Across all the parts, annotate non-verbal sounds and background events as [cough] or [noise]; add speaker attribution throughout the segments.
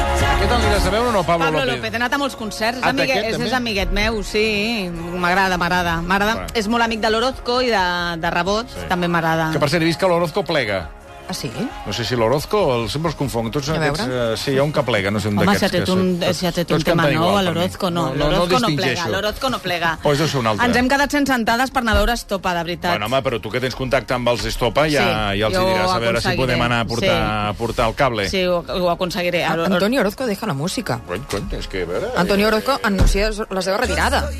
Speaker 1: res a veure o no, Pablo,
Speaker 2: Pablo
Speaker 1: López?
Speaker 2: López, he anat a molts concerts, és,
Speaker 1: Ah,
Speaker 2: amigue,
Speaker 1: d'aquest,
Speaker 2: és,
Speaker 1: també?
Speaker 2: és amiguet meu, sí, m'agrada, m'agrada. M'agrada,
Speaker 1: Bueno.
Speaker 2: és molt amic de l'Orozco i de, de Rebot,
Speaker 1: Sí.
Speaker 2: també m'agrada.
Speaker 1: Que, per cert, he vist que l'Orozco plega.
Speaker 2: Ah, sí?
Speaker 1: No sé si l'Orozco, el, sempre els confonc. Tots
Speaker 2: A
Speaker 1: aquests,
Speaker 2: veure.
Speaker 1: eh, sí, hi ha un que plega, no sé, un
Speaker 2: Home,
Speaker 1: d'aquests.
Speaker 2: si ha tret
Speaker 1: que
Speaker 2: un,
Speaker 1: tots-
Speaker 2: si ha tret un
Speaker 1: tots
Speaker 2: tema
Speaker 1: canten
Speaker 2: nou,
Speaker 1: igual,
Speaker 2: a
Speaker 1: per mi.
Speaker 2: l'Orozco no,
Speaker 1: No, no,
Speaker 2: l'Orozco no, plega,
Speaker 1: distingeixo.
Speaker 2: l'Orozco no plega.
Speaker 1: Doncs deu ser un altre.
Speaker 2: Ens hem quedat sense entades per anar a veure Estopa, de veritat.
Speaker 1: Bueno, home, però tu que tens contacte amb els Estopa ja,
Speaker 2: Sí,
Speaker 1: ja els hi
Speaker 2: jo
Speaker 1: diràs a veure si
Speaker 2: aconseguiré.
Speaker 1: podem anar a portar,
Speaker 2: Sí.
Speaker 1: a portar el cable.
Speaker 2: Sí, ho, ho aconseguiré.
Speaker 3: A-
Speaker 2: Ar-
Speaker 3: Antonio Orozco deja la música.
Speaker 1: Cony, cony, és que, a veure... eh,
Speaker 3: Antonio Orozco anuncia la seva retirada.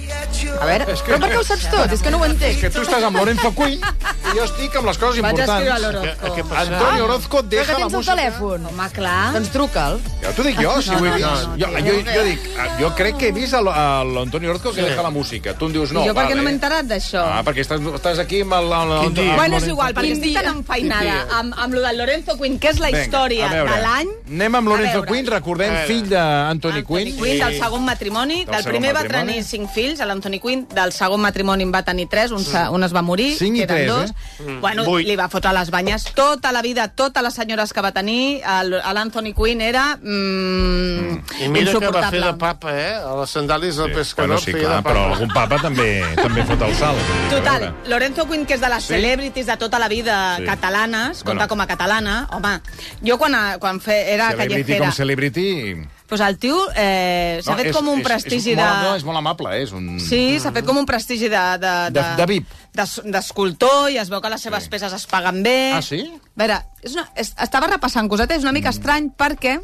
Speaker 3: A veure,
Speaker 1: És que-
Speaker 3: però per què ho saps tot? És que no ho
Speaker 1: És que
Speaker 3: entenc.
Speaker 1: tu estàs amb Lorenzo Cuy i jo estic amb les coses
Speaker 2: Vaig a
Speaker 1: importants.
Speaker 2: escriure a l'Orozco. Ah.
Speaker 4: Què- què passa?
Speaker 1: Antonio Orozco
Speaker 3: Però
Speaker 1: deja
Speaker 3: que
Speaker 1: la
Speaker 3: tens el
Speaker 1: música...
Speaker 3: telèfon.
Speaker 2: Home, clar.
Speaker 3: Doncs truca'l.
Speaker 1: Ja t'ho dic jo, si
Speaker 2: Ah, No,
Speaker 1: ho he
Speaker 2: no,
Speaker 1: vist.
Speaker 2: no,
Speaker 1: jo,
Speaker 2: no,
Speaker 1: jo, jo, dic, ah, jo crec que he vist a l- a l'Antonio Orozco que
Speaker 4: Sí.
Speaker 1: deja la música. Tu em dius
Speaker 2: No,
Speaker 1: no,
Speaker 2: jo per
Speaker 1: vale.
Speaker 2: què no m'he enterat d'això?
Speaker 1: Ah, perquè estàs, estàs aquí amb el... el, el
Speaker 4: Quin dia?
Speaker 2: Bueno, és igual, perquè
Speaker 3: Quin
Speaker 2: estic tan
Speaker 3: dia?
Speaker 2: enfeinada
Speaker 1: Quin dia?
Speaker 2: amb, amb lo del Lorenzo Quinn, que és la
Speaker 1: Vinga,
Speaker 2: història
Speaker 1: a veure.
Speaker 2: de l'any.
Speaker 1: Anem amb
Speaker 2: A
Speaker 1: Lorenzo
Speaker 2: veure.
Speaker 1: Quinn, recordem,
Speaker 4: A veure.
Speaker 1: fill d'Anthony
Speaker 2: Anthony
Speaker 1: Quinn.
Speaker 2: Quinn, del segon matrimoni. Del,
Speaker 1: segon
Speaker 2: primer va
Speaker 1: matrimoni.
Speaker 2: tenir cinc fills, l'Anthony Quinn. Del segon matrimoni en va tenir tres, un, se, un es va morir,
Speaker 1: Mm. Cinc i
Speaker 2: que eren
Speaker 1: tres, eh? Mm.
Speaker 2: dos. Bueno,
Speaker 4: Vuit.
Speaker 2: li va fotre les banyes tota la vida, totes les senyores que va tenir. el- L'Anthony Quinn era mm,
Speaker 4: I mira que va fer
Speaker 2: insuportable.
Speaker 4: de papa, eh? A les sandàlies del
Speaker 1: Bueno,
Speaker 4: pescador
Speaker 1: sí,
Speaker 4: feia
Speaker 1: clar,
Speaker 4: de papa.
Speaker 1: però algun papa també també fot el salt. A
Speaker 2: Total,
Speaker 1: veure.
Speaker 2: Lorenzo Quinn, que és de les
Speaker 1: Sí?
Speaker 2: sí? celebrities de tota la vida
Speaker 1: Sí.
Speaker 2: sí. catalanes, compta
Speaker 1: Bueno.
Speaker 2: bueno. com a catalana, home, jo quan, a- quan fe, era
Speaker 1: Celebrity
Speaker 2: callejera...
Speaker 1: com celebrity...
Speaker 2: Pues el tio eh, s'ha
Speaker 1: No,
Speaker 2: no, fet
Speaker 1: és-
Speaker 2: com un
Speaker 1: és-
Speaker 2: prestigi
Speaker 1: és,
Speaker 2: de...
Speaker 1: Molt, no, és molt amable, eh? és un...
Speaker 2: Sí, s'ha fet com un prestigi de... De,
Speaker 1: De- de VIP.
Speaker 2: d'es- D'escultor, i es veu que les seves
Speaker 1: Sí.
Speaker 2: peces es paguen bé.
Speaker 1: Ah, sí? Mm.
Speaker 2: A veure, és una, és, estava repassant cosetes, és una mica estrany perquè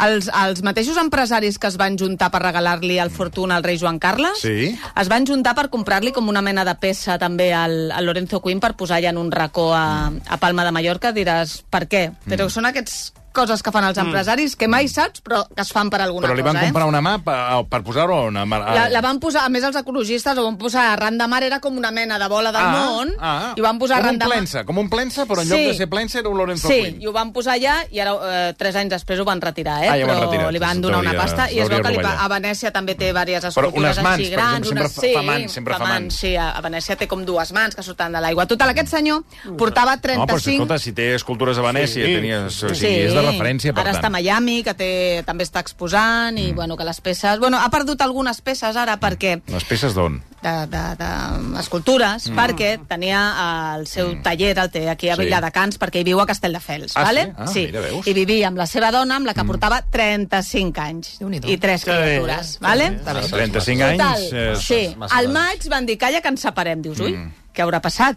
Speaker 2: els, els mateixos empresaris que es van juntar per regalar-li el fortuna al rei Joan Carles
Speaker 1: Mm. Sí.
Speaker 2: es van juntar per comprar-li com una mena de peça també al, al Lorenzo Quinn per posar ja en un racó a,
Speaker 1: Mm.
Speaker 2: a Palma de Mallorca. Diràs, per què? Però són aquests coses que fan els empresaris que mai saps però que es fan per
Speaker 1: Mm.
Speaker 2: alguna
Speaker 1: Però
Speaker 2: cosa.
Speaker 1: li van
Speaker 2: eh?
Speaker 1: comprar una mà per, per posar-ho a una... Mar...
Speaker 2: La, la van posar, a més els ecologistes ho van posar arran de mar, era com una mena de bola del món, i ho van posar
Speaker 1: Ah, com
Speaker 2: arran
Speaker 1: un
Speaker 2: de mar.
Speaker 1: plensa, com un plensa, però en
Speaker 2: Sí.
Speaker 1: lloc de ser plensa era un Lorenzo
Speaker 2: Sí,
Speaker 1: Quinn.
Speaker 2: i ho van posar allà i ara eh, tres anys després ho van retirar, eh?
Speaker 1: Ah, ja ho van
Speaker 2: però
Speaker 1: retirar,
Speaker 2: li van
Speaker 1: es
Speaker 2: donar una
Speaker 1: hauria-
Speaker 2: pasta i
Speaker 1: s'hauria
Speaker 2: es veu que li, pa-
Speaker 1: rovellat.
Speaker 2: a Venècia també té diverses
Speaker 1: Però
Speaker 2: escultures
Speaker 1: unes mans, per
Speaker 2: així grans.
Speaker 1: exemple, sempre fa- fa mans, sempre fa mans.
Speaker 2: Sí, a, a Venècia té com dues mans que surten de l'aigua. Total, aquest senyor portava
Speaker 1: No, però
Speaker 2: 35...
Speaker 1: escolta, si té escultures a Venècia, sí.
Speaker 4: Sí.
Speaker 1: tenies, o sigui, és de referència, per
Speaker 2: ara està a
Speaker 1: tant. Mm.
Speaker 2: Miami, que té, també està exposant, i bueno, que les peces... Bueno, ha perdut algunes peces ara perquè
Speaker 1: Les peces d'on?
Speaker 2: de, de, de escultures, mm. perquè tenia eh, el seu mm. taller, el té aquí a
Speaker 1: Sí.
Speaker 2: Villadecans, perquè hi viu a Castelldefels,
Speaker 1: Ah,
Speaker 2: vale?
Speaker 1: sí? Ah, mira, veus? Mm.
Speaker 2: I vivia amb la seva dona, amb la que portava 35 anys.
Speaker 3: Déu-n'hi-do.
Speaker 2: I tres
Speaker 4: Que bé,
Speaker 2: criatures,
Speaker 4: eh?
Speaker 2: vale?
Speaker 4: Que
Speaker 1: A 35
Speaker 2: Total,
Speaker 1: anys... eh,
Speaker 2: sí. Al maig van dir, calla, que ens separem. Dius, ui,
Speaker 1: Mm.
Speaker 2: què haurà passat?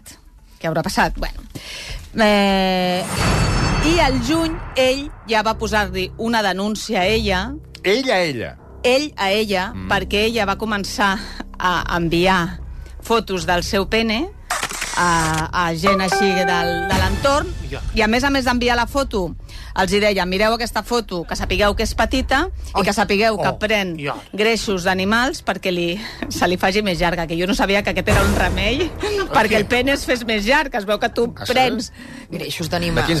Speaker 2: Què haurà passat? Bueno. Eh... I al juny ell ja va posar-li una denúncia a ella
Speaker 1: Ella, ella.
Speaker 2: ell a ella mm. perquè ella va començar a enviar fotos del seu pene a, a gent així del, de l'entorn
Speaker 4: Ja.
Speaker 2: i a més a més d'enviar la foto els hi deia, mireu aquesta foto, que sapigueu que és petita i que sapigueu que
Speaker 4: Oh,
Speaker 2: pren
Speaker 4: ja.
Speaker 2: greixos d'animals perquè li, se li faci més llarga, que jo no sabia que aquest era un remei perquè el pene es fes més llarg, es veu que tu
Speaker 1: Ah, sí?
Speaker 2: prens...
Speaker 3: Greixos
Speaker 1: De quins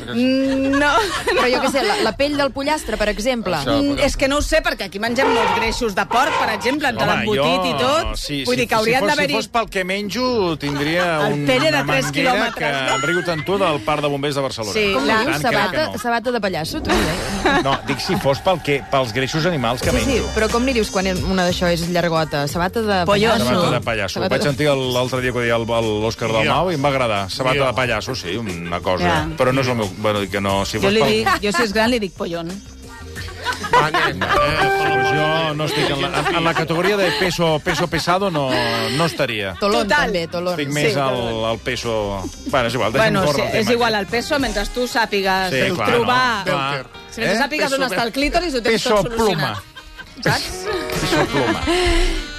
Speaker 1: animals?
Speaker 2: Mm, No,
Speaker 3: Però jo què sé, la, la pell del pollastre, per exemple.
Speaker 1: Això.
Speaker 2: Mm, és que no ho sé, perquè aquí mengem molts greixos de porc, per exemple, de l'embotit i tot.
Speaker 1: Sí,
Speaker 2: Vull
Speaker 1: sí,
Speaker 2: dir que haurien
Speaker 1: si fos,
Speaker 2: d'haver-hi...
Speaker 1: Si fos pel que menjo, tindria
Speaker 2: El
Speaker 1: un,
Speaker 2: pene de
Speaker 1: una
Speaker 2: tres
Speaker 1: manguera
Speaker 2: quilòmetres,
Speaker 1: que
Speaker 2: no?
Speaker 1: em riu tant tu del parc de bombers de Barcelona.
Speaker 2: Sí,
Speaker 3: Com
Speaker 1: Per
Speaker 3: la
Speaker 2: clar.
Speaker 1: tant, crec
Speaker 3: dius?
Speaker 1: que
Speaker 3: Sabata,
Speaker 1: no.
Speaker 3: sabata de pallasso, tu? Eh?
Speaker 1: No, dic si fos pel que, pels greixos animals que
Speaker 3: Sí, sí,
Speaker 1: menjo.
Speaker 3: però com li dius quan una d'això és llargota? Sabata de
Speaker 2: Polloso.
Speaker 3: pallasso?
Speaker 1: Sabata de pallasso. Ho
Speaker 3: Sabata
Speaker 1: vaig
Speaker 3: de-
Speaker 1: sentir el- l'altre dia que ho deia el- el- l'Òscar
Speaker 4: Ja.
Speaker 1: Dalmau i em va agradar. Sabata
Speaker 4: Ja.
Speaker 1: de pallasso, sí, una cosa.
Speaker 2: Ja.
Speaker 1: Però no és el meu... Bueno, dic que no, si
Speaker 2: Jo,
Speaker 1: fos
Speaker 2: li
Speaker 1: pel...
Speaker 2: dic, jo si és gran li dic pollon.
Speaker 4: Va, nen, eh, per
Speaker 1: Pues
Speaker 4: l'amor de
Speaker 1: jo
Speaker 4: Déu.
Speaker 1: no estic en la, en la categoria de peso, peso pesado, no, no estaria.
Speaker 3: Tolón,
Speaker 2: Total.
Speaker 3: també, tolón.
Speaker 1: Estic més
Speaker 2: Sí,
Speaker 1: al, al peso... Bueno, és igual, deixa'm
Speaker 2: Bueno, sí,
Speaker 1: córrer el tema.
Speaker 2: és igual el peso, mentre tu sàpigues
Speaker 1: Sí, clar,
Speaker 2: trobar...
Speaker 1: no,
Speaker 4: clar.
Speaker 2: Si mentre
Speaker 1: Eh?
Speaker 2: sàpigues on
Speaker 4: Peso-
Speaker 2: està el clítoris, ho tens
Speaker 1: Peso
Speaker 2: tot
Speaker 1: pluma.
Speaker 2: solucionat. Saps?
Speaker 1: Peso
Speaker 2: [laughs]
Speaker 1: pluma.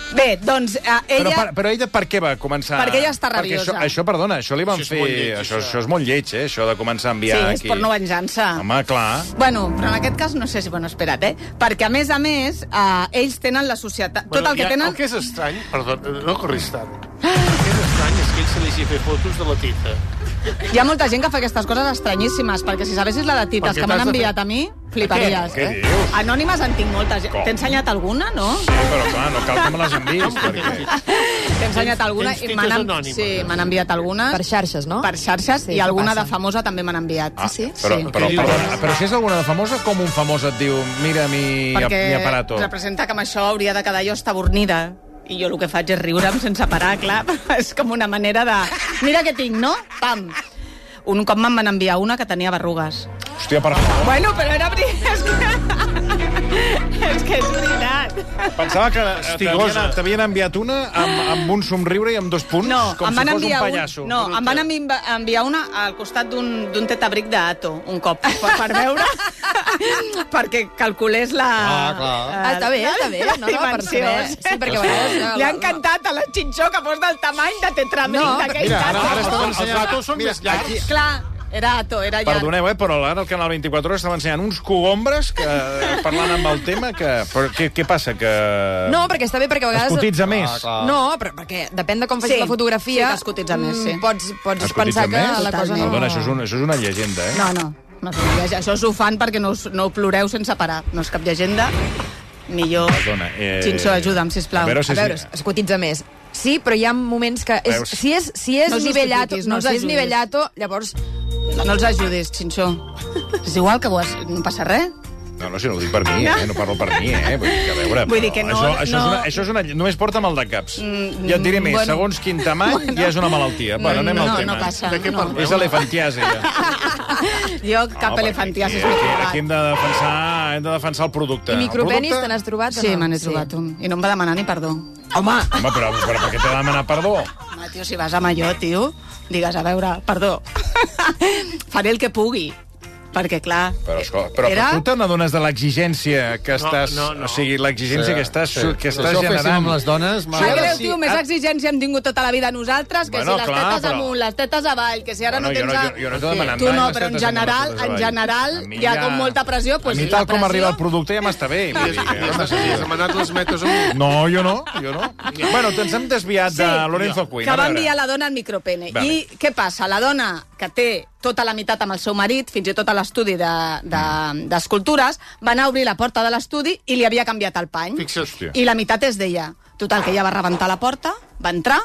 Speaker 2: Bé, doncs eh,
Speaker 1: Però,
Speaker 2: ella...
Speaker 1: per, però ella per què va començar...
Speaker 2: Perquè ella està rabiosa.
Speaker 1: Perquè això, això, perdona, això li van
Speaker 4: Això és
Speaker 1: fer...
Speaker 4: molt lleig,
Speaker 1: això,
Speaker 4: això.
Speaker 1: això és molt lleig, eh? Això de començar a
Speaker 2: Sí,
Speaker 1: enviar
Speaker 2: és
Speaker 1: aquí...
Speaker 2: per no venjança.
Speaker 1: Home, clar.
Speaker 2: Bueno, però en aquest cas no sé si... Bueno, espera't, eh? Perquè, a més a més, eh, ells tenen la societat... tot
Speaker 4: Bueno,
Speaker 2: el
Speaker 4: hi
Speaker 2: que
Speaker 4: ha-
Speaker 2: tenen...
Speaker 4: El que és estrany, perdó, no corris tant. El que és estrany és que ell se li hagi fet fotos de la tita.
Speaker 2: Hi ha molta gent que fa aquestes coses estranyíssimes, perquè si sabessis la de tites
Speaker 4: Perquè
Speaker 2: que m'han
Speaker 4: t'has de fer-
Speaker 2: enviat a mi... Fliparies.
Speaker 1: Què dius?
Speaker 2: Anònimes en tinc moltes.
Speaker 1: Com?
Speaker 2: T'he ensenyat alguna, no?
Speaker 1: Sí, però clar, no cal que me les enviïs, perquè...
Speaker 2: T'he enseanyat
Speaker 4: Tens-
Speaker 2: alguna
Speaker 4: tens
Speaker 2: i
Speaker 4: tintes
Speaker 2: m'han en...
Speaker 4: anònimes. eh?
Speaker 2: sí, m'han enviat alguna
Speaker 3: Per xarxes, no?
Speaker 2: per xarxes
Speaker 3: Sí,
Speaker 2: i
Speaker 3: que
Speaker 2: alguna de
Speaker 3: passen.
Speaker 2: famosa també m'han enviat.
Speaker 4: Ah,
Speaker 1: Ah, Però,
Speaker 2: sí.
Speaker 1: però,
Speaker 4: Què dius?
Speaker 1: però, però si és alguna de famosa, com un famós et diu mira mi,
Speaker 2: perquè
Speaker 1: mi aparato?
Speaker 2: representa que amb això hauria de quedar jo estabornida. I jo el que faig és riure'm sense parar, clar. [laughs] És com una manera de... Mira què tinc, no? Pam! Un cop me'n van enviar una que tenia berrugues.
Speaker 1: Hòstia, per favor.
Speaker 2: Bueno, però era veritat. [laughs] És que, és, que és veritat.
Speaker 1: Pensava que eh,
Speaker 4: Estigosa.
Speaker 1: t'havien- t'havien enviat una amb, amb un somriure i amb dos punts,
Speaker 2: No,
Speaker 1: com
Speaker 2: em
Speaker 1: si
Speaker 2: van
Speaker 1: fos un
Speaker 2: enviar
Speaker 1: pallasso.
Speaker 2: No, em van envi- enviar una al costat d'un d'un tetabric d'Ato, un cop, per, per [laughs] veure... perquè calculés la... eh,
Speaker 1: Ah, clar.
Speaker 3: Ah, està bé, està bé, no, no, per
Speaker 2: dimensió.
Speaker 3: saber. Sí, perquè a vegades...
Speaker 2: Li ha encantat a la xinxó que fos del tamany de tetrabric
Speaker 3: No,
Speaker 2: d'aquell
Speaker 4: Mira,
Speaker 2: tatu.
Speaker 4: ara, ara estava
Speaker 1: Els
Speaker 4: ensenyant... Els
Speaker 1: datos
Speaker 4: són més llargs.
Speaker 2: Clar, era ato, era llarg.
Speaker 1: Perdoneu, eh, però ara al Canal 24 Hores estava ensenyant uns cogombres que, eh, parlant amb el tema que... Però què, què passa? Que...
Speaker 3: No, perquè està bé, perquè a
Speaker 1: Es
Speaker 3: vegades... Ah.
Speaker 1: cotitza més.
Speaker 3: No, però perquè depèn de com facis
Speaker 2: Sí,
Speaker 3: la fotografia...
Speaker 2: sí que es cotitza més, sí.
Speaker 3: mm, Pots, pots
Speaker 1: Es cotitza
Speaker 3: pensar que
Speaker 1: més?
Speaker 3: la cosa no...
Speaker 1: Perdona, això és, una, això és una llegenda, eh?
Speaker 2: No, no. no és- això us ho fan perquè no, us, no ho ploreu sense parar. No és cap llegenda. Millor...
Speaker 1: Perdona, eh,
Speaker 2: Xinxó, ajuda'm, sisplau.
Speaker 1: a veure si-
Speaker 3: A veure, es cotitza més. Sí, però hi ha moments que... És,
Speaker 1: Veus?
Speaker 3: si és, si és
Speaker 2: No
Speaker 3: no
Speaker 2: justifiquis,
Speaker 3: nivellato,
Speaker 2: no
Speaker 3: no,
Speaker 2: us
Speaker 3: si és
Speaker 2: ajudis.
Speaker 3: nivellato, llavors...
Speaker 2: No els ajudis, Xinxó. És igual que ho has... no passa res.
Speaker 1: No, no, si no ho dic per mi, eh? No parlo per mi, eh? Vull dir que, a veure,
Speaker 2: Vull dir
Speaker 1: però
Speaker 2: que no-
Speaker 1: Això, això,
Speaker 2: no-
Speaker 1: És una, això és una... Només porta mal de caps. ja et diré més,
Speaker 2: bueno.
Speaker 1: segons quin tamany ja és una malaltia. Bueno, anem
Speaker 2: no,
Speaker 1: al
Speaker 2: no,
Speaker 1: tema.
Speaker 2: no passa.
Speaker 4: De què
Speaker 2: No.
Speaker 4: parlem?
Speaker 1: És elefantiasi, ja.
Speaker 2: Jo [laughs] cap
Speaker 1: perquè
Speaker 2: elefantia, si
Speaker 1: aquí, aquí, aquí hem de defensar, hem de defensar el producte.
Speaker 3: I
Speaker 1: El
Speaker 3: micropenis
Speaker 1: producte-
Speaker 3: te n'has trobat o
Speaker 2: Sí,
Speaker 3: no?
Speaker 2: me n'he trobat un. I no em va demanar ni perdó.
Speaker 3: Home,
Speaker 1: Home, però, però per què t'he de demanar perdó?
Speaker 2: Home, tio, si vas a Malló, tio, digues, a veure, perdó, [laughs] faré el que pugui. Perquè, clar...
Speaker 1: Però, escol, però,
Speaker 2: era...
Speaker 1: però tu te n'adones de l'exigència que estàs...
Speaker 4: no, no.
Speaker 1: O sigui, l'exigència que estàs, que
Speaker 5: Si
Speaker 1: estàs
Speaker 5: això ho féssim
Speaker 1: generant...
Speaker 5: amb les dones...
Speaker 2: Em sap
Speaker 5: mare
Speaker 2: greu,
Speaker 5: de-
Speaker 2: tio, més exigència hem tingut tota la vida nosaltres, que
Speaker 1: Bueno,
Speaker 2: si les
Speaker 1: clar,
Speaker 2: tetes
Speaker 1: però-
Speaker 2: amunt, les tetes avall, que si ara
Speaker 1: Bueno, jo
Speaker 2: no tens...
Speaker 1: no-
Speaker 2: a-
Speaker 1: jo- jo no t'ho he demanat
Speaker 2: Tu
Speaker 1: mai,
Speaker 2: no,
Speaker 1: les
Speaker 2: però
Speaker 1: tetes amunt,
Speaker 2: en
Speaker 1: les
Speaker 2: general,
Speaker 1: tetes
Speaker 2: en
Speaker 1: avall. A
Speaker 2: general,
Speaker 1: mi
Speaker 2: hi ha
Speaker 1: ja-
Speaker 2: com molta pressió,
Speaker 1: A
Speaker 2: doncs
Speaker 1: mi
Speaker 2: la
Speaker 1: tal com arriba el
Speaker 2: pressió...
Speaker 1: producte ja m'està bé. vull dir que no
Speaker 4: Has
Speaker 1: necessito-
Speaker 4: has demanat les metes amb...
Speaker 1: No, jo no, jo no. Bueno, ens hem desviat de
Speaker 2: Sí,
Speaker 1: Lorenzo Cuin. a
Speaker 2: que va
Speaker 1: veure.
Speaker 2: enviar la dona al micropene.
Speaker 1: Vale.
Speaker 2: I què passa? La dona, que té tota la meitat amb el seu marit, fins i tot a l'estudi de- de-
Speaker 1: Mm.
Speaker 2: d'escultures, de, va anar a obrir la porta de l'estudi i li havia canviat el pany.
Speaker 1: Hòstia.
Speaker 4: Fixa't.
Speaker 2: I la meitat és d'ella. Total, que ella va rebentar la porta, va entrar,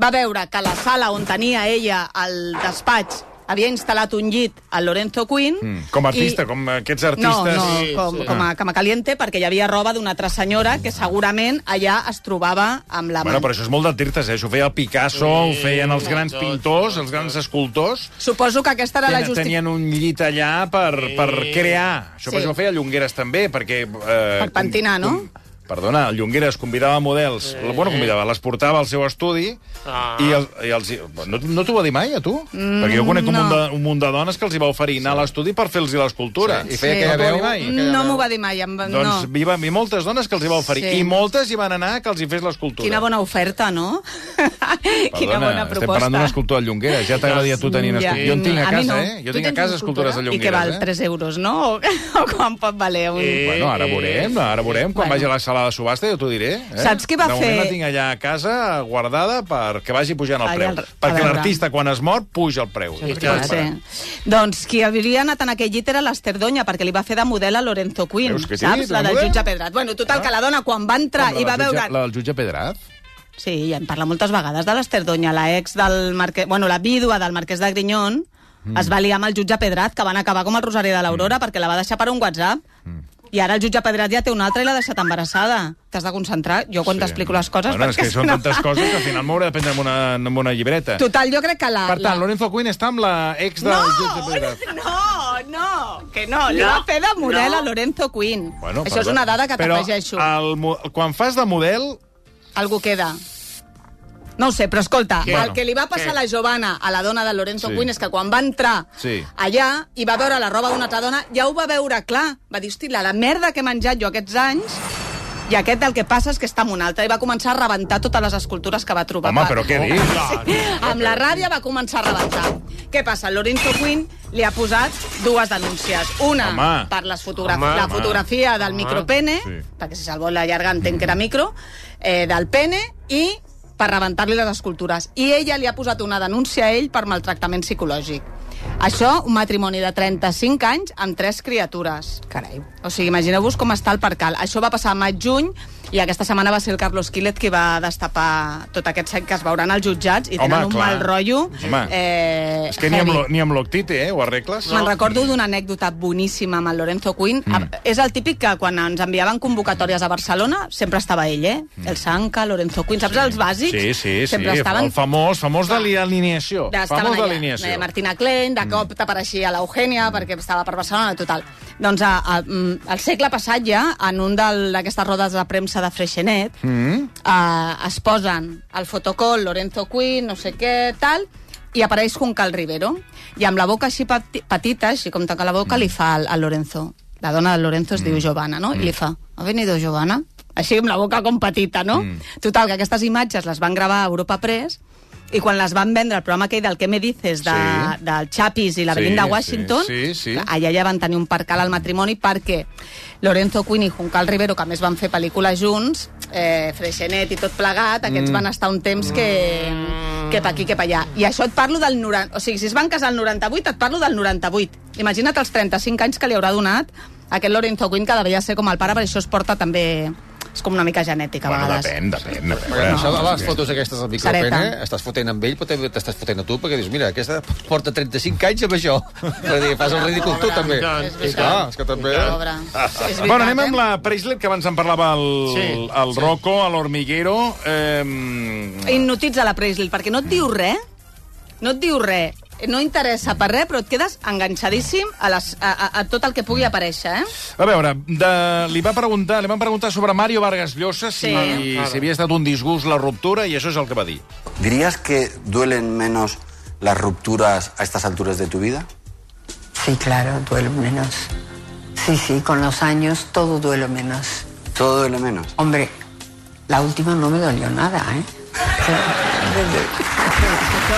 Speaker 2: va veure que la sala on tenia ella el despatx havia instal·lat un llit al Lorenzo Quinn...
Speaker 1: Mm, Com a artista,
Speaker 2: i-
Speaker 1: com aquests artistes...
Speaker 2: No, no,
Speaker 4: Sí,
Speaker 2: com,
Speaker 4: sí.
Speaker 2: com
Speaker 1: Ah.
Speaker 2: a cama caliente, perquè hi havia roba d'una altra senyora que segurament allà es trobava amb
Speaker 1: Mm. Bueno,
Speaker 2: la amant.
Speaker 1: però això és molt de dir-te, eh? Això ho feia el Picasso, ho feien els grans pintors, els grans escultors.
Speaker 2: Suposo que aquesta era la
Speaker 1: Ten,
Speaker 2: justificació.
Speaker 1: tenien un llit allà per, per crear. Això
Speaker 2: Sí.
Speaker 1: sí. ho feia Llongueres també, perquè... Eh,
Speaker 2: Per pentinar, no?
Speaker 1: Perdona, el Llongueres convidava models, eh. bueno, convidava, les portava al seu estudi
Speaker 4: Ah.
Speaker 1: i, el, i els... No, no t'ho va dir mai, a tu? Mm, Perquè jo conec un, munt de, un munt de dones que els hi va oferir anar a l'estudi per fer-los l'escultura.
Speaker 5: I
Speaker 1: Sí.
Speaker 5: feia
Speaker 1: No
Speaker 5: aquella
Speaker 1: t'ho va
Speaker 5: veu...
Speaker 1: dir mai?
Speaker 5: aquella
Speaker 2: No
Speaker 5: veu.
Speaker 2: m'ho va dir mai. Em... va-
Speaker 1: Doncs
Speaker 2: no.
Speaker 1: hi va haver moltes dones que els hi va oferir.
Speaker 2: Sí.
Speaker 1: I moltes hi van anar que els hi fes l'escultura.
Speaker 2: Quina bona oferta, no? [laughs] Quina
Speaker 1: Perdona,
Speaker 2: bona
Speaker 1: Estem parlant d'un
Speaker 2: proposta.
Speaker 1: escultor de Llongueres. Ja t'agradaria a tu tenir un
Speaker 2: Ja.
Speaker 1: escultor. Jo en tinc a
Speaker 2: mi
Speaker 1: casa,
Speaker 2: no.
Speaker 1: eh? Jo
Speaker 2: Tu
Speaker 1: tinc a
Speaker 2: tens
Speaker 1: casa
Speaker 2: escultura?
Speaker 1: escultures de Llongueres,
Speaker 2: I que val
Speaker 1: eh?
Speaker 2: 3 euros, no? O, o quan pot valer un...
Speaker 4: Eh,
Speaker 1: Bueno, ara veurem, ara veurem. Quan
Speaker 2: Bueno.
Speaker 1: vagi a la sala de subhasta jo t'ho diré. Eh?
Speaker 2: Saps qui va
Speaker 1: de moment
Speaker 2: fer-
Speaker 1: la tinc allà a casa guardada perquè vagi pujant el
Speaker 2: Ai,
Speaker 1: preu.
Speaker 2: el- a
Speaker 1: Perquè
Speaker 2: veure.
Speaker 1: l'artista, quan es mor, puja el preu. I
Speaker 2: Pot
Speaker 1: clar,
Speaker 2: ser. Doncs qui hauria anat en aquell llit era l'Ester Doña, perquè li va fer de model a Lorenzo Quinn,
Speaker 1: Veus que sí,
Speaker 2: saps? La
Speaker 1: la
Speaker 2: del
Speaker 1: model?
Speaker 2: jutge Pedrat. Bueno, total, que la dona quan va entrar
Speaker 1: Com la
Speaker 2: i va
Speaker 1: del jutge-
Speaker 2: veure...
Speaker 1: La del jutge Pedraz?
Speaker 2: Sí, ja en parla moltes vegades de l'Ester Doña, la ex del marquès... Bueno, la vídua del marquès de Grinyón, mm. es va liar amb el jutge Pedrat, que van acabar com el Rosari de
Speaker 1: Mm.
Speaker 2: l'Aurora, perquè la va deixar per un WhatsApp. I ara el jutge Pedrat ja té una altra i l'ha deixat embarassada. T'has de concentrar, jo quan t'explico les coses...
Speaker 1: Bueno, és
Speaker 2: perquè
Speaker 1: que
Speaker 2: si
Speaker 1: són
Speaker 2: no-
Speaker 1: tantes coses que al final m'hauré de prendre amb una, amb una llibreta.
Speaker 2: [laughs] Total, jo crec que la...
Speaker 1: Per tant,
Speaker 2: la...
Speaker 1: Lorenzo Quinn està amb la ex del
Speaker 2: No!
Speaker 1: jutge Pedraz.
Speaker 2: No, no, que no. Li va fer de model a Lorenzo Quinn. Això és
Speaker 1: perdó.
Speaker 2: una dada que
Speaker 1: Però
Speaker 2: t'afegeixo.
Speaker 1: el mo- quan fas de model,
Speaker 2: Algú queda. No ho sé, però escolta,
Speaker 1: Què?
Speaker 2: Què? el que li va passar a la Giovanna, a la dona de Lorenzo
Speaker 1: Sí.
Speaker 2: sí. Quinn, és que quan va entrar
Speaker 1: Sí.
Speaker 2: allà i va veure la roba d'una altra dona, ja ho va veure clar. Va dir, hosti, la, la merda que he menjat jo aquests anys i aquest el que passa és que està amb un altre. I va començar a rebentar totes les escultures que va trobar.
Speaker 1: Home,
Speaker 2: Va-
Speaker 1: però què dius?
Speaker 2: Sí. Amb la ràbia va començar a rebentar. Què passa? Lorenzo Quinn li ha posat dues denúncies. Una
Speaker 1: Home.
Speaker 2: per les fotografi
Speaker 4: Home,
Speaker 2: la
Speaker 4: home.
Speaker 2: fotografia del
Speaker 4: Home.
Speaker 2: micropene,
Speaker 1: Sí.
Speaker 2: perquè si se'l vol allargar entenc que era micro, eh, del pene i per rebentar-li les escultures. I ella li ha posat una denúncia a ell per maltractament psicològic. Això, un matrimoni de 35 anys amb tres criatures.
Speaker 3: Carai.
Speaker 2: O sigui, imagineu-vos com està el percal. Això va passar a maig-juny i aquesta setmana va ser el Carlos Quilet qui va destapar tot aquest set que es veuran als jutjats i
Speaker 1: Home,
Speaker 2: tenen un
Speaker 1: clar.
Speaker 2: mal rotllo.
Speaker 1: Home.
Speaker 2: Eh,
Speaker 1: És que ni amb,
Speaker 2: heavy.
Speaker 1: lo- ni amb l'octite, eh? Ho arregles?
Speaker 2: Me'n recordo d'una anècdota boníssima amb el Lorenzo Quinn. Mm. És el típic que quan ens enviaven convocatòries a Barcelona sempre estava ell, eh? Mm. El Sanca, Lorenzo Quinn, saps sí. els bàsics?
Speaker 1: Sí, sí, sí.
Speaker 2: Sempre estaven...
Speaker 1: El famós, famós de l'alineació.
Speaker 2: Estaven
Speaker 1: Famós de
Speaker 2: allà,
Speaker 1: l'alineació.
Speaker 2: eh, Martina Klein, de cop t'apareixia l'Eugènia, perquè estava per Barcelona, total. Doncs a, a, mm, al segle passat ja, en un del- d'aquestes rodes de premsa de Freixenet, mm. eh, es posen el fotocol, Lorenzo Quinn, no sé què, tal, i apareix Juncal Rivero. I amb la boca així pati- petita, així com tanca la boca,
Speaker 1: Mm.
Speaker 2: li fa al, al Lorenzo. La dona del Lorenzo es diu Giovanna, no? I li fa, ha venido Giovanna? Així amb la boca com petita, no?
Speaker 1: Mm.
Speaker 2: Total, que aquestes imatges les van gravar a Europa Press i quan les van vendre, el programa aquell del Què me dices, de,
Speaker 1: Sí.
Speaker 2: del Chapis i la
Speaker 1: Sí,
Speaker 2: Belinda
Speaker 1: sí,
Speaker 2: Washington,
Speaker 1: sí, sí.
Speaker 2: allà ja van tenir un percal al matrimoni perquè Lorenzo Quinn i Juncal Rivero, que a més van fer pel·lícules junts, eh, Freixenet i tot plegat, aquests
Speaker 1: Mm.
Speaker 2: van estar un temps que, que pa aquí, que pa allà. I això et parlo del 90... O sigui, si es van casar el 98, et parlo del 98. Imagina't els 35 anys que li haurà donat aquest Lorenzo Quinn, que devia ser com el pare, perquè això es porta també... És com una mica genètica, a
Speaker 1: Bueno,
Speaker 2: vegades.
Speaker 1: depèn, depèn. depèn.
Speaker 5: Perquè això de les fotos aquestes del micropene,
Speaker 2: Sareta.
Speaker 5: estàs fotent amb ell, però també t'estàs fotent a tu, perquè dius, mira, aquesta porta 35 anys amb això. [laughs] Per dir, fas el ridícul tu, també.
Speaker 4: tant,
Speaker 5: I clar, és que també...
Speaker 1: [laughs]
Speaker 2: Pobre. És
Speaker 1: Bueno, anem
Speaker 2: eh?
Speaker 1: amb la Preislet, que abans en parlava el, sí,
Speaker 4: Sí,
Speaker 1: el sí. Rocco, a l'Hormiguero. Eh,
Speaker 2: Hipnotitza la Presley, perquè no et diu res, no et diu res, no interessa per res, però et quedes enganxadíssim a, les, a, a, a tot el que pugui aparèixer, eh?
Speaker 1: A veure, de, li, va preguntar, li van preguntar sobre Mario Vargas Llosa si,
Speaker 2: Sí.
Speaker 1: si havia estat un disgust la ruptura i això és el que va dir.
Speaker 6: ¿Dirías que duelen menos las rupturas a estas alturas de tu vida?
Speaker 7: Sí, claro, duelo menos. Sí, sí, con los años todo duelo menos.
Speaker 6: Todo duele menos.
Speaker 7: Hombre, la última no me dolió nada, ¿eh?
Speaker 2: Això,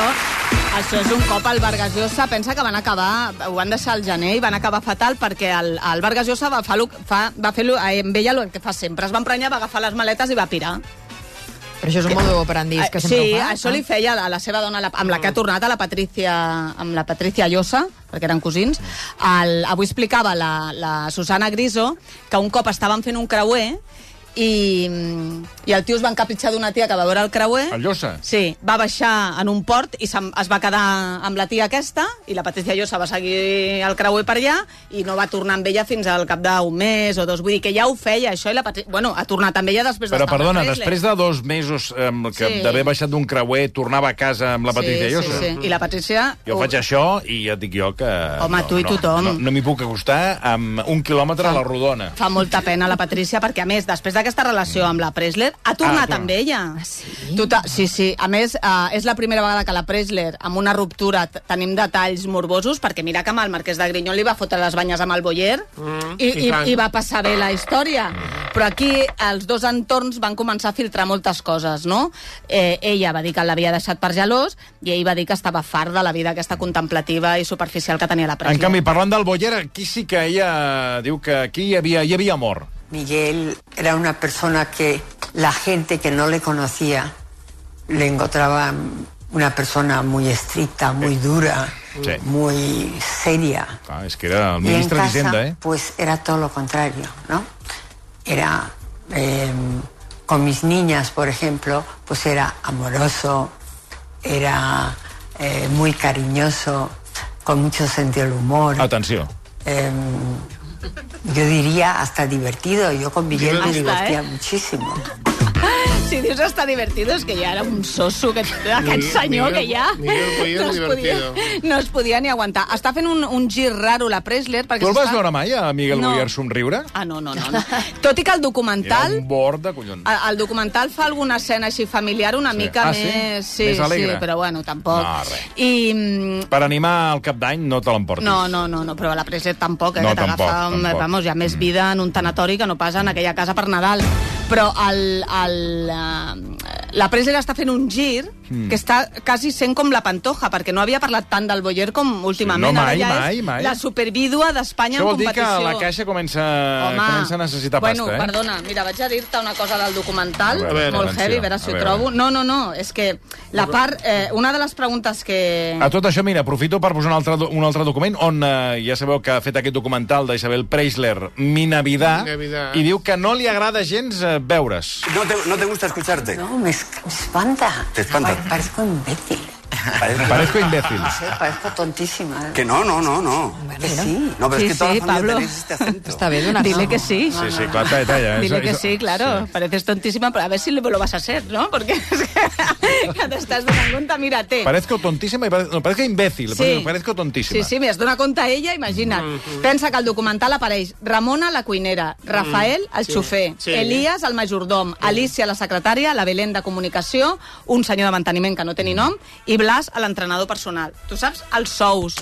Speaker 2: això és un cop al Vargas Llosa. Pensa que van acabar, ho van deixar al gener i van acabar fatal perquè el, el Vargas Llosa va, fa, lo- fa, va fer lo- eh, amb ella el que fa sempre. Es va emprenyar, va agafar les maletes i va pirar.
Speaker 3: Però això és un modo operandi, és que sempre
Speaker 2: Ah, Eh, sí,
Speaker 3: ho Ah. fa. Ah?
Speaker 2: això li feia a la seva dona, la, amb la que ha tornat, a la Patricia, amb la Patricia Llosa, perquè eren cosins. El, avui explicava la, la Susana Griso que un cop estaven fent un creuer i, i el tio es va encapritxar d'una tia que va veure el creuer.
Speaker 1: El Llosa?
Speaker 2: Sí, va baixar en un port i se'n- es va quedar amb la tia aquesta i la Patricia Llosa va seguir el creuer per allà i no va tornar amb ella fins al cap d'un mes o dos. Vull dir que ja ho feia, això, i la Patricia... Bueno, ha tornat amb ella després
Speaker 1: Però,
Speaker 2: d'estar amb la
Speaker 1: perdona,
Speaker 2: Presley.
Speaker 1: després de dos mesos eh, que sí.
Speaker 2: Sí.
Speaker 1: d'haver baixat d'un creuer, tornava a casa amb la Patricia
Speaker 2: sí,
Speaker 1: Llosa.
Speaker 2: Sí, sí. I la Patricia...
Speaker 1: Jo faig això i ja et dic jo que...
Speaker 2: Home, tu i
Speaker 1: no,
Speaker 2: tothom.
Speaker 1: No, no m'hi puc acostar amb un quilòmetre a la rodona.
Speaker 2: Fa molta pena la Patricia, perquè, a més, després d'aquesta relació amb la Presler, ha tornat
Speaker 1: Ah, clar.
Speaker 2: amb ella. sí? Total, sí, sí. A més, eh, és la primera vegada que la Presler, amb una ruptura, t- tenim detalls morbosos, perquè mira que amb el marquès de Grinyol li va fotre les banyes amb el Boyer
Speaker 4: Mm,
Speaker 2: i,
Speaker 4: i
Speaker 2: i,
Speaker 4: tant.
Speaker 2: i va passar bé la història. Però aquí els dos entorns van començar a filtrar moltes coses, no? Eh, ella va dir que l'havia deixat per gelós i ell va dir que estava fart de la vida aquesta contemplativa i superficial que tenia la Presler.
Speaker 1: En canvi, parlant del Boyer, aquí sí que ella diu que aquí hi havia, hi havia amor.
Speaker 7: Miguel era una persona que la gente que no le conocía le encontraba una persona muy estricta, muy dura,
Speaker 1: Sí.
Speaker 7: muy seria.
Speaker 1: Clar, és que era el
Speaker 7: Y en
Speaker 1: ministre d'Hisenda,
Speaker 7: casa,
Speaker 1: eh?
Speaker 7: pues era todo lo contrario, ¿no? Era, eh, con mis niñas, por ejemplo, pues era amoroso, era eh, muy cariñoso, con mucho sentido del humor.
Speaker 1: Atenció.
Speaker 7: eh, yo diría hasta divertido. Yo con Miguel me
Speaker 2: Divertido. Hasta,
Speaker 7: divertía
Speaker 2: ¿eh?
Speaker 7: muchísimo.
Speaker 2: [laughs] Si dius està divertido, és que ja era un soso, que, aquest
Speaker 4: Miguel-
Speaker 2: senyor que ja
Speaker 4: Miguel
Speaker 2: [laughs]
Speaker 4: Boyer
Speaker 2: no es,
Speaker 4: divertido.
Speaker 2: podia, no es podia ni aguantar. Està fent un, un gir raro la Presler.
Speaker 1: Tu
Speaker 2: Perquè
Speaker 1: el vas
Speaker 2: s'està-
Speaker 1: veure mai, a Miguel
Speaker 2: No.
Speaker 1: Boyer, somriure?
Speaker 2: Ah, no, no, no, no. Tot i que el
Speaker 1: Era
Speaker 2: documental...
Speaker 1: un bord de collons.
Speaker 2: El, el documental fa alguna escena així familiar una
Speaker 1: Sí.
Speaker 2: mica
Speaker 1: Ah, sí?
Speaker 2: més...
Speaker 1: Més alegre.
Speaker 2: sí, però bueno, tampoc.
Speaker 1: No, res.
Speaker 2: I... mm,
Speaker 1: Per animar al cap d'any no te l'emportis.
Speaker 2: No, no, no, no, però la Presley tampoc, eh,
Speaker 1: No,
Speaker 2: que t'agafa,
Speaker 1: tampoc,
Speaker 2: amb-
Speaker 1: tampoc.
Speaker 2: vamos, hi ha més vida en un tanatori que no passa en aquella casa per Nadal. Però el, el, eh, la Presley està fent un gir
Speaker 1: Hmm.
Speaker 2: que està quasi sent com la Pantoja, perquè no havia parlat tant del Boyer com últimament.
Speaker 1: Sí, no,
Speaker 2: Ara
Speaker 1: mai,
Speaker 2: ja
Speaker 1: mai,
Speaker 2: és
Speaker 1: mai.
Speaker 2: La supervídua d'Espanya
Speaker 1: Això
Speaker 2: en
Speaker 1: vol dir que
Speaker 2: competició.
Speaker 1: la caixa comença, comença a necessitar
Speaker 2: bueno,
Speaker 1: pasta, eh?
Speaker 2: Bueno, perdona, mira, vaig a dir-te una cosa del documental,
Speaker 1: A veure,
Speaker 2: molt
Speaker 1: atenció,
Speaker 2: heavy, a veure
Speaker 1: a
Speaker 2: si ho
Speaker 1: veure.
Speaker 2: trobo. No, no, no, és que la part... Eh, una de les preguntes que...
Speaker 1: A tot això, mira, aprofito per posar un altre, do- un altre document on eh, ja sabeu que ha fet aquest documental d'Isabel Preisler, Mi Navidad,
Speaker 4: Mi Navidad.
Speaker 1: i diu que no li agrada gens eh, veure's.
Speaker 6: No te, no te gusta escucharte.
Speaker 7: No, me, es- me espanta.
Speaker 6: Te espanta. Ah.
Speaker 7: Pa- Parezco imbécil.
Speaker 6: Parece-
Speaker 1: Parezco imbécil.
Speaker 7: No sé, parezco tontísima.
Speaker 6: Que no, no, no, no.
Speaker 7: Que sí.
Speaker 6: No, pero
Speaker 2: Sí,
Speaker 6: es que toda
Speaker 2: sí,
Speaker 6: la familia
Speaker 2: Pablo.
Speaker 6: tenéis
Speaker 2: [laughs]
Speaker 6: este acento.
Speaker 3: Està bé donar
Speaker 2: Dile que sí.
Speaker 1: Sí, sí, clar, talla, talla. eh?
Speaker 2: Dile
Speaker 1: Eso-
Speaker 2: que
Speaker 1: eso-
Speaker 2: sí, claro. Pareces tontísima, pero a ver si lo vas a ser, ¿no? Porque [laughs] es que, que t'estàs donant compte, mírate.
Speaker 1: Parezco tontísima i parez... no, parezco imbécil,
Speaker 2: Sí.
Speaker 1: sí. parezco tontísima.
Speaker 2: Sí, sí, mira, es dona compte ella, imagina't.
Speaker 4: Mm-hmm.
Speaker 2: Pensa que al documental apareix Ramona, la cuinera, Rafael, el xofer,
Speaker 4: Mm. Sí. Mm.
Speaker 2: Elias, el majordom, Alicia, la secretària, la Belén de comunicació, un senyor de manteniment que no té
Speaker 4: Mm.
Speaker 2: ni nom, i Blas, l'entrenador personal. Tu saps els sous.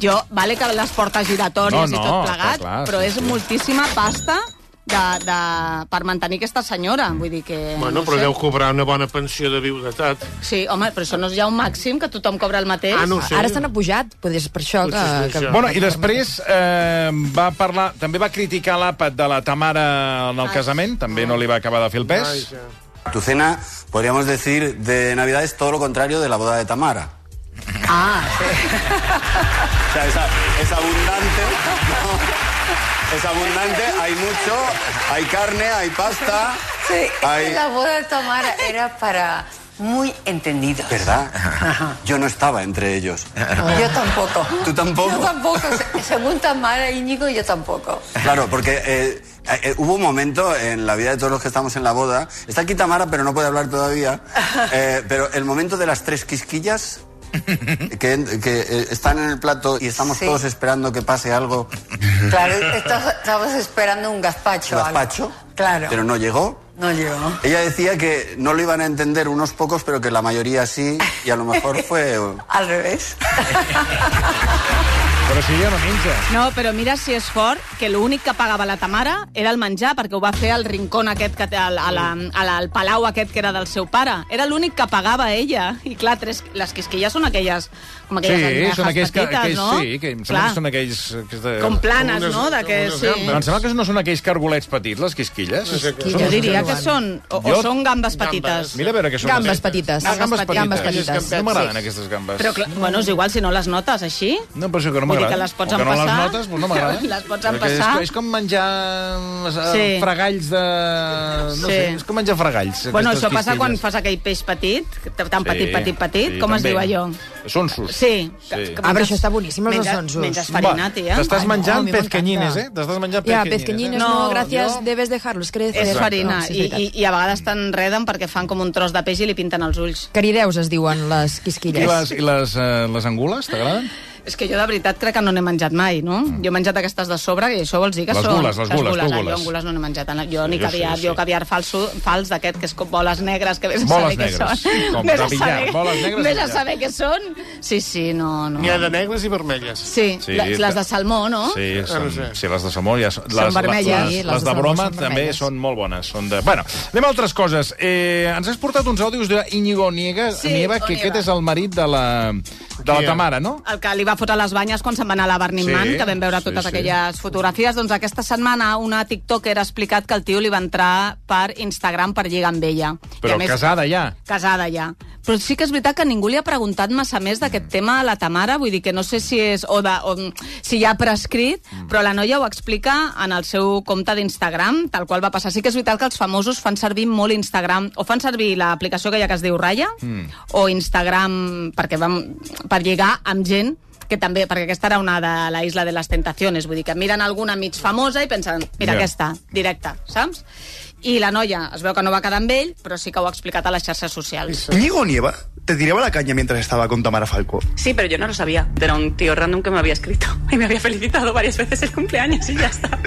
Speaker 2: Jo, vale que les portes giratòries
Speaker 1: No,
Speaker 2: i
Speaker 1: no,
Speaker 2: tot plegat,
Speaker 1: està clar,
Speaker 2: però
Speaker 1: sí,
Speaker 2: és
Speaker 1: sí.
Speaker 2: moltíssima pasta de, de, per mantenir aquesta senyora. Vull dir que...
Speaker 4: Bueno,
Speaker 2: no
Speaker 4: però
Speaker 2: sé.
Speaker 4: deu cobrar una bona pensió de viudetat.
Speaker 2: Sí, home, però això no és ja un màxim, que tothom cobra el mateix.
Speaker 4: Ah, no ho sé.
Speaker 3: Ara se n'ha pujat, potser és per això que...
Speaker 4: Potser és per
Speaker 3: que...
Speaker 4: això.
Speaker 1: Bueno, i després eh, va parlar... També va criticar l'àpat de la Tamara en el casament, també no li va acabar de fer el pes.
Speaker 4: Vaja.
Speaker 6: Tu cena, podríamos decir, de Navidad es todo lo contrario de la boda de Tamara.
Speaker 7: Ah,
Speaker 6: O sea, es, a- es abundante. ¿no? Es abundante, hay mucho, hay carne, hay pasta.
Speaker 7: sí. es que
Speaker 6: hay...
Speaker 7: La boda de Tamara era para muy entendidos.
Speaker 6: ¿Verdad? Yo no estaba entre ellos.
Speaker 7: Yo tampoco.
Speaker 6: ¿Tú tampoco?
Speaker 7: Yo tampoco. Se- Según Tamara Íñigo, yo tampoco.
Speaker 6: Claro, porque eh, eh, hubo un momento en la vida de todos los que estamos en la boda. Está aquí Tamara, pero no puede hablar
Speaker 7: [laughs]
Speaker 6: todavía. Eh, pero el momento de las tres quisquillas que, que, eh, están en el plato y estamos
Speaker 7: Sí.
Speaker 6: todos esperando que pase algo.
Speaker 7: [laughs] Claro, estás- estabas esperando un gazpacho. algo.
Speaker 6: Gazpacho.
Speaker 7: Claro.
Speaker 6: Pero no llegó.
Speaker 7: No llegó.
Speaker 6: Ella decía que no lo iban a entender unos pocos, pero que la mayoría sí, y a lo mejor fue...
Speaker 7: [laughs] Al revés.
Speaker 1: Però si ella no menja.
Speaker 2: No, però mira si és fort, que l'únic que pagava la Tamara era el menjar, perquè ho va fer al rincón aquest, que té, al, a la, a la, al palau aquest que era del seu pare. Era l'únic que pagava ella. I clar, tres, les quisquilles són aquelles... Com aquelles
Speaker 1: Sí,
Speaker 2: almejas
Speaker 1: són aquells que,
Speaker 2: petites,
Speaker 1: aquells,
Speaker 2: no?
Speaker 1: sí, que em sembla
Speaker 2: clar,
Speaker 1: que són aquells... eh, Que de...
Speaker 2: Com planes,
Speaker 4: Com unes-
Speaker 2: no? De que,
Speaker 4: com unes
Speaker 2: sí.
Speaker 1: No, em sembla que no són aquells cargolets petits, les quisquilles.
Speaker 4: sé què.
Speaker 2: Jo diria que són... O, o
Speaker 1: Jo-
Speaker 2: són gambes petites.
Speaker 1: Mira a veure què són. aquestes.
Speaker 3: Gambes petites.
Speaker 1: Ah, gambes petites.
Speaker 3: Gambes
Speaker 4: petites.
Speaker 1: No m'agraden
Speaker 4: Sí.
Speaker 1: aquestes gambes.
Speaker 2: Però, clar, bueno, és igual, si no les notes així...
Speaker 1: No, però això que no
Speaker 2: Vull dir
Speaker 1: m'agrada.
Speaker 2: que les pots
Speaker 1: O que no les
Speaker 2: empassar.
Speaker 1: notes, doncs no m'agrada.
Speaker 2: [laughs] Les pots
Speaker 1: Perquè és-
Speaker 2: empassar.
Speaker 1: És, com menjar eh,
Speaker 2: Sí.
Speaker 1: fregalls de... No sé,
Speaker 2: Sí.
Speaker 1: és com menjar fregalls.
Speaker 2: Bueno,
Speaker 1: aquestes
Speaker 2: això passa quan
Speaker 1: quisquilles.
Speaker 2: fas aquell peix petit, que- tan
Speaker 1: Sí,
Speaker 2: petit, petit, petit,
Speaker 1: sí,
Speaker 2: com es
Speaker 1: també.
Speaker 2: diu allò?
Speaker 1: Sonsos.
Speaker 2: Sí.
Speaker 1: Sí.
Speaker 2: que- que
Speaker 3: Ah, però
Speaker 2: menges-
Speaker 3: això està boníssim, els
Speaker 2: menges-
Speaker 3: sonsos.
Speaker 2: Menges farina,
Speaker 1: Va,
Speaker 2: tia.
Speaker 1: T'estàs
Speaker 3: Ai, no, a
Speaker 1: menjant
Speaker 3: mi
Speaker 1: pezqueñines, eh?
Speaker 3: m'encanta.
Speaker 1: T'estás menjant
Speaker 3: Ja,
Speaker 1: pezqueñines.
Speaker 3: pesqueñinos,
Speaker 1: eh?
Speaker 3: no,
Speaker 2: No,
Speaker 3: gràcies,
Speaker 2: jo-
Speaker 3: debes dejarlos crecer.
Speaker 2: És farina.
Speaker 3: No, sí, és
Speaker 2: I,
Speaker 3: veritat.
Speaker 2: i, I a vegades t'enreden perquè fan com un tros de peix i li pinten els ulls.
Speaker 3: Carideus es diuen les quisquilles.
Speaker 1: I les, i les, eh, les angules, t'agraden?
Speaker 2: És que jo de veritat crec que no n'he menjat mai, no? Mm. Jo he menjat aquestes de sobre i això vols dir que
Speaker 1: Les
Speaker 2: són...
Speaker 1: gules, les gules, tu
Speaker 2: ah,
Speaker 1: gules.
Speaker 2: Jo angules no n'he menjat. Jo
Speaker 1: Sí,
Speaker 2: ni
Speaker 1: jo
Speaker 2: caviar,
Speaker 1: sí,
Speaker 2: jo
Speaker 1: sí.
Speaker 2: caviar falso, fals d'aquest, que és com boles negres, que vés a
Speaker 1: Boles
Speaker 2: saber què
Speaker 1: negres,
Speaker 2: són.
Speaker 1: com
Speaker 2: vés
Speaker 1: de
Speaker 2: a
Speaker 1: billar,
Speaker 2: saber,
Speaker 1: boles negres de
Speaker 2: vés a
Speaker 1: billar.
Speaker 2: saber què són. Sí, sí, no, no.
Speaker 4: N'hi ha de negres i vermelles.
Speaker 2: Sí,
Speaker 1: Sí,
Speaker 2: les, les de salmó, no?
Speaker 1: Sí,
Speaker 4: Ah,
Speaker 1: són,
Speaker 4: no sé.
Speaker 1: sí, les de salmó ja són...
Speaker 3: Són vermelles.
Speaker 1: Les,
Speaker 3: Sí,
Speaker 1: les,
Speaker 3: les
Speaker 1: les
Speaker 3: de
Speaker 1: de
Speaker 3: salmó
Speaker 1: broma
Speaker 3: són
Speaker 1: també
Speaker 3: vermelles.
Speaker 1: són molt bones. Són de... Bueno, anem a altres coses. Eh, ens has portat uns àudios d'Iñigo Nieva,
Speaker 2: Sí,
Speaker 1: Nieva, que
Speaker 2: Onieva.
Speaker 1: aquest és el marit de la, de la
Speaker 4: Onieva.
Speaker 1: Tamara, no?
Speaker 2: el que li va fotre les banyes quan se'n va anar a la Burning
Speaker 1: Sí,
Speaker 2: sí, Man, que vam veure
Speaker 1: sí,
Speaker 2: totes
Speaker 1: sí.
Speaker 2: sí. aquelles fotografies. Doncs aquesta setmana una tiktoker ha explicat que el tio li va entrar per Instagram per lligar amb ella.
Speaker 1: Però casada ja.
Speaker 2: Casada ja. Però sí que és veritat que ningú li ha preguntat massa més d'aquest tema a la Tamara, vull dir que no sé si és o, de, o si ja ha prescrit, però la noia ho explica en el seu compte d'Instagram, tal qual va passar. Sí que és veritat que els famosos fan servir molt Instagram, o fan servir l'aplicació que hi ha que es diu Raya, mm. o Instagram perquè vam, per lligar amb gent que també, perquè aquesta era una de la Isla de les Tentaciones, vull dir que miren alguna mig famosa i pensen, mira
Speaker 1: Ja.
Speaker 2: yeah. aquesta, directa, saps? I la noia es veu que no va quedar amb ell, pero sí que ho ha explicat a les xarxes socials.
Speaker 8: Íñigo Nieva te tiraba la caña mientras estaba con Tamara Falco.
Speaker 9: Sí, pero yo no lo sabía. Era un tío random que me había escrito y me había felicitado varias veces el cumpleaños y ya está.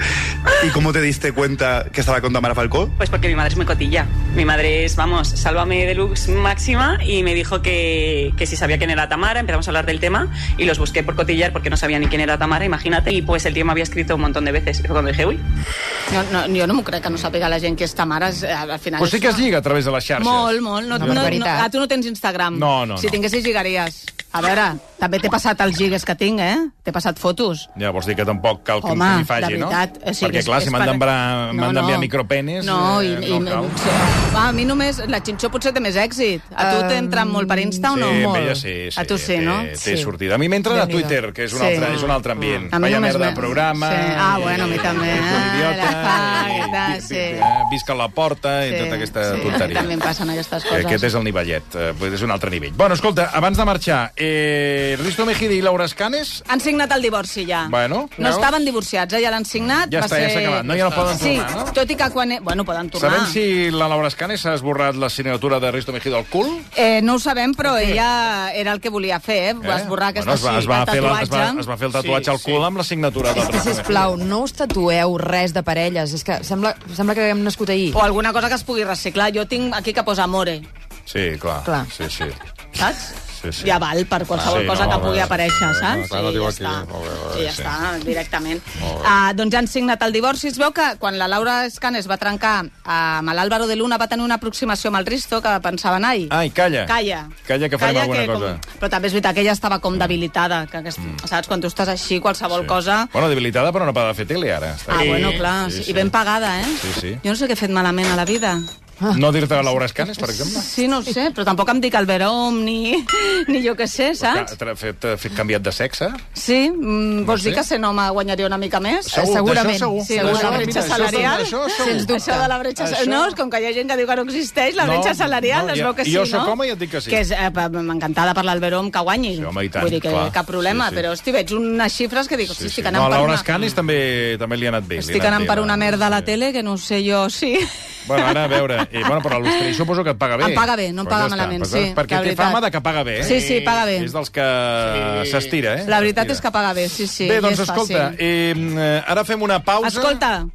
Speaker 8: ¿Y cómo te diste cuenta que estaba con Tamara Falco?
Speaker 9: Pues porque mi madre es muy cotilla. Mi madre es, vamos, sálvame deluxe máxima y me dijo que, que si sabía quién era Tamara, empezamos a hablar del tema y los busqué por cotillar porque no sabía ni quién era Tamara, imagínate. Y pues el tío me había escrito un montón de veces. Y fue cuando dije, uy,
Speaker 2: No, no, jo no m'ho crec que no sàpiga la gent qui que és Tamara, és, eh, al final...
Speaker 1: Però sí
Speaker 2: és
Speaker 1: que es
Speaker 2: una-
Speaker 1: lliga a través de les xarxes.
Speaker 2: Molt, molt. No,
Speaker 3: Una
Speaker 2: no, no,
Speaker 3: barbaritat.
Speaker 2: ah, tu no tens Instagram.
Speaker 1: No, no,
Speaker 2: Si
Speaker 1: no.
Speaker 2: tinguessis, lligaries. A veure, també t'he passat els lligues que tinc, eh? T'he passat fotos.
Speaker 1: Ja vols dir que tampoc cal que
Speaker 2: Home,
Speaker 1: em faci,
Speaker 2: de veritat.
Speaker 1: no?
Speaker 2: o sigui,
Speaker 1: Perquè,
Speaker 2: és-
Speaker 1: clar,
Speaker 2: és
Speaker 1: si m'han
Speaker 2: per-
Speaker 1: d'enviar no, no. micropenes...
Speaker 2: No, i,
Speaker 1: eh,
Speaker 2: i,
Speaker 1: no cal.
Speaker 2: sí. Va, a mi només... La Xinxó potser té més èxit. A tu t'entra molt per Insta o
Speaker 1: Sí,
Speaker 2: no?
Speaker 1: amb
Speaker 2: Molt.
Speaker 1: ella sí, sí,
Speaker 2: a tu sí,
Speaker 1: té,
Speaker 2: no?
Speaker 1: Té sortida. A mi m'entren a Twitter, que és un,
Speaker 2: Sí.
Speaker 1: altre, és un altre ambient.
Speaker 2: A mi
Speaker 1: Vaya
Speaker 2: només
Speaker 1: merda
Speaker 2: me-
Speaker 1: de programa...
Speaker 2: sí. Ah, bueno, a mi també.
Speaker 1: eh,
Speaker 2: Ah,
Speaker 1: idiota,
Speaker 2: la
Speaker 1: eh,
Speaker 2: facta,
Speaker 1: vi-
Speaker 2: sí.
Speaker 1: vi- eh, Visca la porta i tota aquesta
Speaker 2: sí,
Speaker 1: tonteria.
Speaker 2: També em passen aquestes
Speaker 1: Que
Speaker 2: coses.
Speaker 1: Aquest és el nivellet, eh, és un altre nivell. Bueno, escolta, abans de marxar, eh, Risto Mejide i Laura Escanes...
Speaker 2: Han signat el divorci, ja.
Speaker 1: Bueno,
Speaker 2: no
Speaker 1: veus?
Speaker 2: estaven divorciats, eh? ja l'han signat.
Speaker 1: Ja
Speaker 2: va
Speaker 1: està, ja s'ha
Speaker 2: ser-
Speaker 1: acabat, no? Ja no poden
Speaker 2: sí,
Speaker 1: tornar, no?
Speaker 2: tot i que quan... Bueno, poden tornar.
Speaker 1: Sabem si la Laura Escanes s'ha esborrat la signatura de Risto Mejide al cul?
Speaker 2: Eh, no ho sabem, però ella era el que volia fer, eh? Va esborrar aquesta
Speaker 1: bueno, es va, es va,
Speaker 2: sí,
Speaker 1: fer
Speaker 2: el
Speaker 1: la, es, va,
Speaker 2: tatuatge.
Speaker 1: es va fer el tatuatge
Speaker 4: Sí,
Speaker 1: al cul
Speaker 4: sí.
Speaker 1: amb la signatura del
Speaker 3: És que, sisplau, no us tatueu res de parelles. És que sembla, sembla que haguem nascut ahir.
Speaker 2: O alguna cosa que es pugui reciclar. Jo tinc aquí que posa more,
Speaker 1: Sí, clar.
Speaker 3: Clar.
Speaker 1: Sí, sí.
Speaker 2: saps?
Speaker 1: Sí, sí.
Speaker 2: Ja val per qualsevol
Speaker 1: Ah, sí,
Speaker 2: cosa
Speaker 1: no,
Speaker 2: que
Speaker 1: bé,
Speaker 2: pugui
Speaker 1: sí,
Speaker 2: aparèixer,
Speaker 1: no,
Speaker 2: saps?
Speaker 5: clar, no diu
Speaker 2: ja
Speaker 5: aquí,
Speaker 2: està.
Speaker 5: molt bé,
Speaker 2: sí,
Speaker 5: molt bé,
Speaker 2: ja
Speaker 5: sí.
Speaker 2: està, directament. Ah, doncs han signat el divorci. Es veu que quan la Laura Escanes va trencar eh, amb l'Àlvaro de Luna va tenir una aproximació amb el Risto que pensaven, ai,
Speaker 1: Ai, calla.
Speaker 2: Calla.
Speaker 1: Eh, Calla, que farem alguna
Speaker 2: com-
Speaker 1: cosa. Mm.
Speaker 2: Però també és veritat que ella estava com debilitada. Que, aquest, Saps? Quan tu estàs així, qualsevol cosa...
Speaker 1: Bueno, debilitada, però no para de fer tele, ara. Està
Speaker 2: Ah,
Speaker 1: aquí.
Speaker 2: bueno, clar.
Speaker 1: Sí,
Speaker 2: Sí,
Speaker 1: sí.
Speaker 2: I ben pagada, eh?
Speaker 1: Sí, sí.
Speaker 2: Jo no sé què he fet malament a la vida. Ah.
Speaker 1: No dir-te a Laura Escanes, per exemple?
Speaker 2: Sí, no ho sé, però tampoc em dic el Verón ni, [laughs] ni jo què sé, saps?
Speaker 1: T'ha fet, t'ha fet canviat de sexe?
Speaker 2: Sí, mm, vols
Speaker 1: sé.
Speaker 2: dir que sent home guanyaria una mica més?
Speaker 1: Segur,
Speaker 3: segurament.
Speaker 1: d'això segur.
Speaker 2: Sí,
Speaker 1: D'això,
Speaker 2: la
Speaker 1: mira,
Speaker 2: bretxa
Speaker 1: això segur,
Speaker 2: salarial,
Speaker 1: d'això segur.
Speaker 3: sens dubte.
Speaker 2: Això de la bretxa...
Speaker 1: Això-
Speaker 2: No, és com que hi ha gent que diu que no existeix, la
Speaker 1: No,
Speaker 2: bretxa salarial,
Speaker 1: no,
Speaker 2: es
Speaker 1: ja-
Speaker 2: veu
Speaker 1: i
Speaker 2: que sí,
Speaker 1: jo
Speaker 2: no?
Speaker 1: sóc home i et dic que sí.
Speaker 2: Que és, eh, pa- m'encantada parlar al Verón que guanyi.
Speaker 1: Sí, home, i tant,
Speaker 2: Vull dir que
Speaker 1: clar.
Speaker 2: cap problema,
Speaker 1: Sí, sí.
Speaker 2: però, hosti, veig unes xifres que dic, hosti, estic anant
Speaker 1: No,
Speaker 2: per
Speaker 1: Laura
Speaker 2: una...
Speaker 1: Escanes també, també li ha anat bé. li ha
Speaker 2: Estic
Speaker 1: anat bé,
Speaker 2: anant per
Speaker 1: va.
Speaker 2: una merda a la
Speaker 1: eh, Sí.
Speaker 2: tele que no sé jo, sí.
Speaker 1: Bueno, ara a veure, eh, bueno, però l'Hostaler suposo que et paga bé.
Speaker 2: Em paga bé, no em
Speaker 1: Doncs
Speaker 2: paga
Speaker 1: ja està.
Speaker 2: malament,
Speaker 1: Pues,
Speaker 2: sí,
Speaker 1: Perquè
Speaker 2: la
Speaker 1: té
Speaker 2: veritat.
Speaker 1: fama de que paga bé. eh?
Speaker 2: Sí, sí, paga bé.
Speaker 1: És dels que s'estira, eh?
Speaker 2: La veritat
Speaker 1: S'estira.
Speaker 2: és que paga bé, sí, sí.
Speaker 1: Bé,
Speaker 2: i
Speaker 1: doncs
Speaker 2: és fàcil.
Speaker 1: escolta, eh, ara fem una pausa.
Speaker 2: Escolta,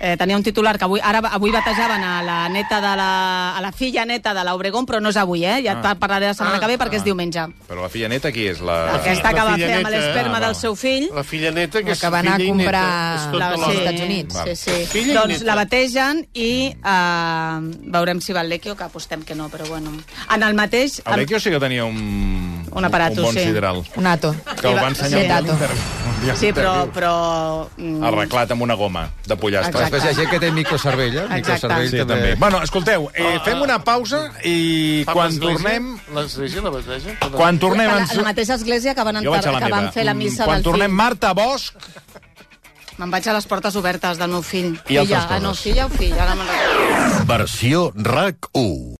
Speaker 2: eh, tenia un titular que avui, ara avui batejaven a la neta de la, a la filla neta de l'Obregón, però no és avui, eh? Ja
Speaker 1: Ah.
Speaker 2: ah. parlaré la setmana
Speaker 1: Ah.
Speaker 2: que ve perquè
Speaker 1: Ah.
Speaker 2: és diumenge.
Speaker 1: Però la filla neta qui és? La...
Speaker 2: Aquesta que
Speaker 4: la
Speaker 2: va
Speaker 4: filla
Speaker 2: fer amb
Speaker 4: neta,
Speaker 2: l'esperma
Speaker 1: ah,
Speaker 2: del
Speaker 1: val.
Speaker 2: seu fill.
Speaker 4: La filla neta, que
Speaker 3: La
Speaker 4: és
Speaker 3: que va anar a
Speaker 4: filla i
Speaker 3: comprar
Speaker 4: neta, és tota
Speaker 2: La,
Speaker 4: la-
Speaker 3: als Estats Units.
Speaker 2: Sí, sí.
Speaker 4: Filla i
Speaker 2: Doncs
Speaker 4: neta.
Speaker 2: la bategen i eh, veurem si va el Lequio, que apostem que no, però bueno. En el mateix...
Speaker 1: El Vecchio sí que tenia un...
Speaker 2: Un aparato,
Speaker 1: un bon
Speaker 2: sí.
Speaker 1: sideral.
Speaker 3: Un ato.
Speaker 1: Que el
Speaker 2: Sí,
Speaker 1: va
Speaker 2: va-
Speaker 1: ensenyar
Speaker 2: sí,
Speaker 1: un
Speaker 3: tato.
Speaker 1: interviu. Un dia
Speaker 2: Sí, però...
Speaker 1: d'interviu.
Speaker 2: però mm,
Speaker 1: Arreglat amb una goma de pollastre.
Speaker 5: Però després hi ha gent que té microcervell, eh? Microcervell
Speaker 1: Sí, també. Bueno, escolteu, eh, fem una pausa i
Speaker 4: Oh. Fa
Speaker 1: quan
Speaker 4: l'església?
Speaker 1: tornem...
Speaker 4: L'església la bateja?
Speaker 1: Quan tornem...
Speaker 2: a la,
Speaker 1: ens-
Speaker 2: a la mateixa església que van,
Speaker 1: Jo vaig a
Speaker 2: enterrar-
Speaker 1: la
Speaker 2: que
Speaker 1: meva.
Speaker 2: van fer la missa
Speaker 1: Quan
Speaker 2: del
Speaker 1: tornem,
Speaker 2: fill.
Speaker 1: Marta Bosch...
Speaker 2: Me'n vaig a les portes obertes del meu fill.
Speaker 1: I altres
Speaker 2: filla, ah, no,
Speaker 1: coses.
Speaker 2: filla o fill, ara me'n recordo.
Speaker 10: Versió RAC 1.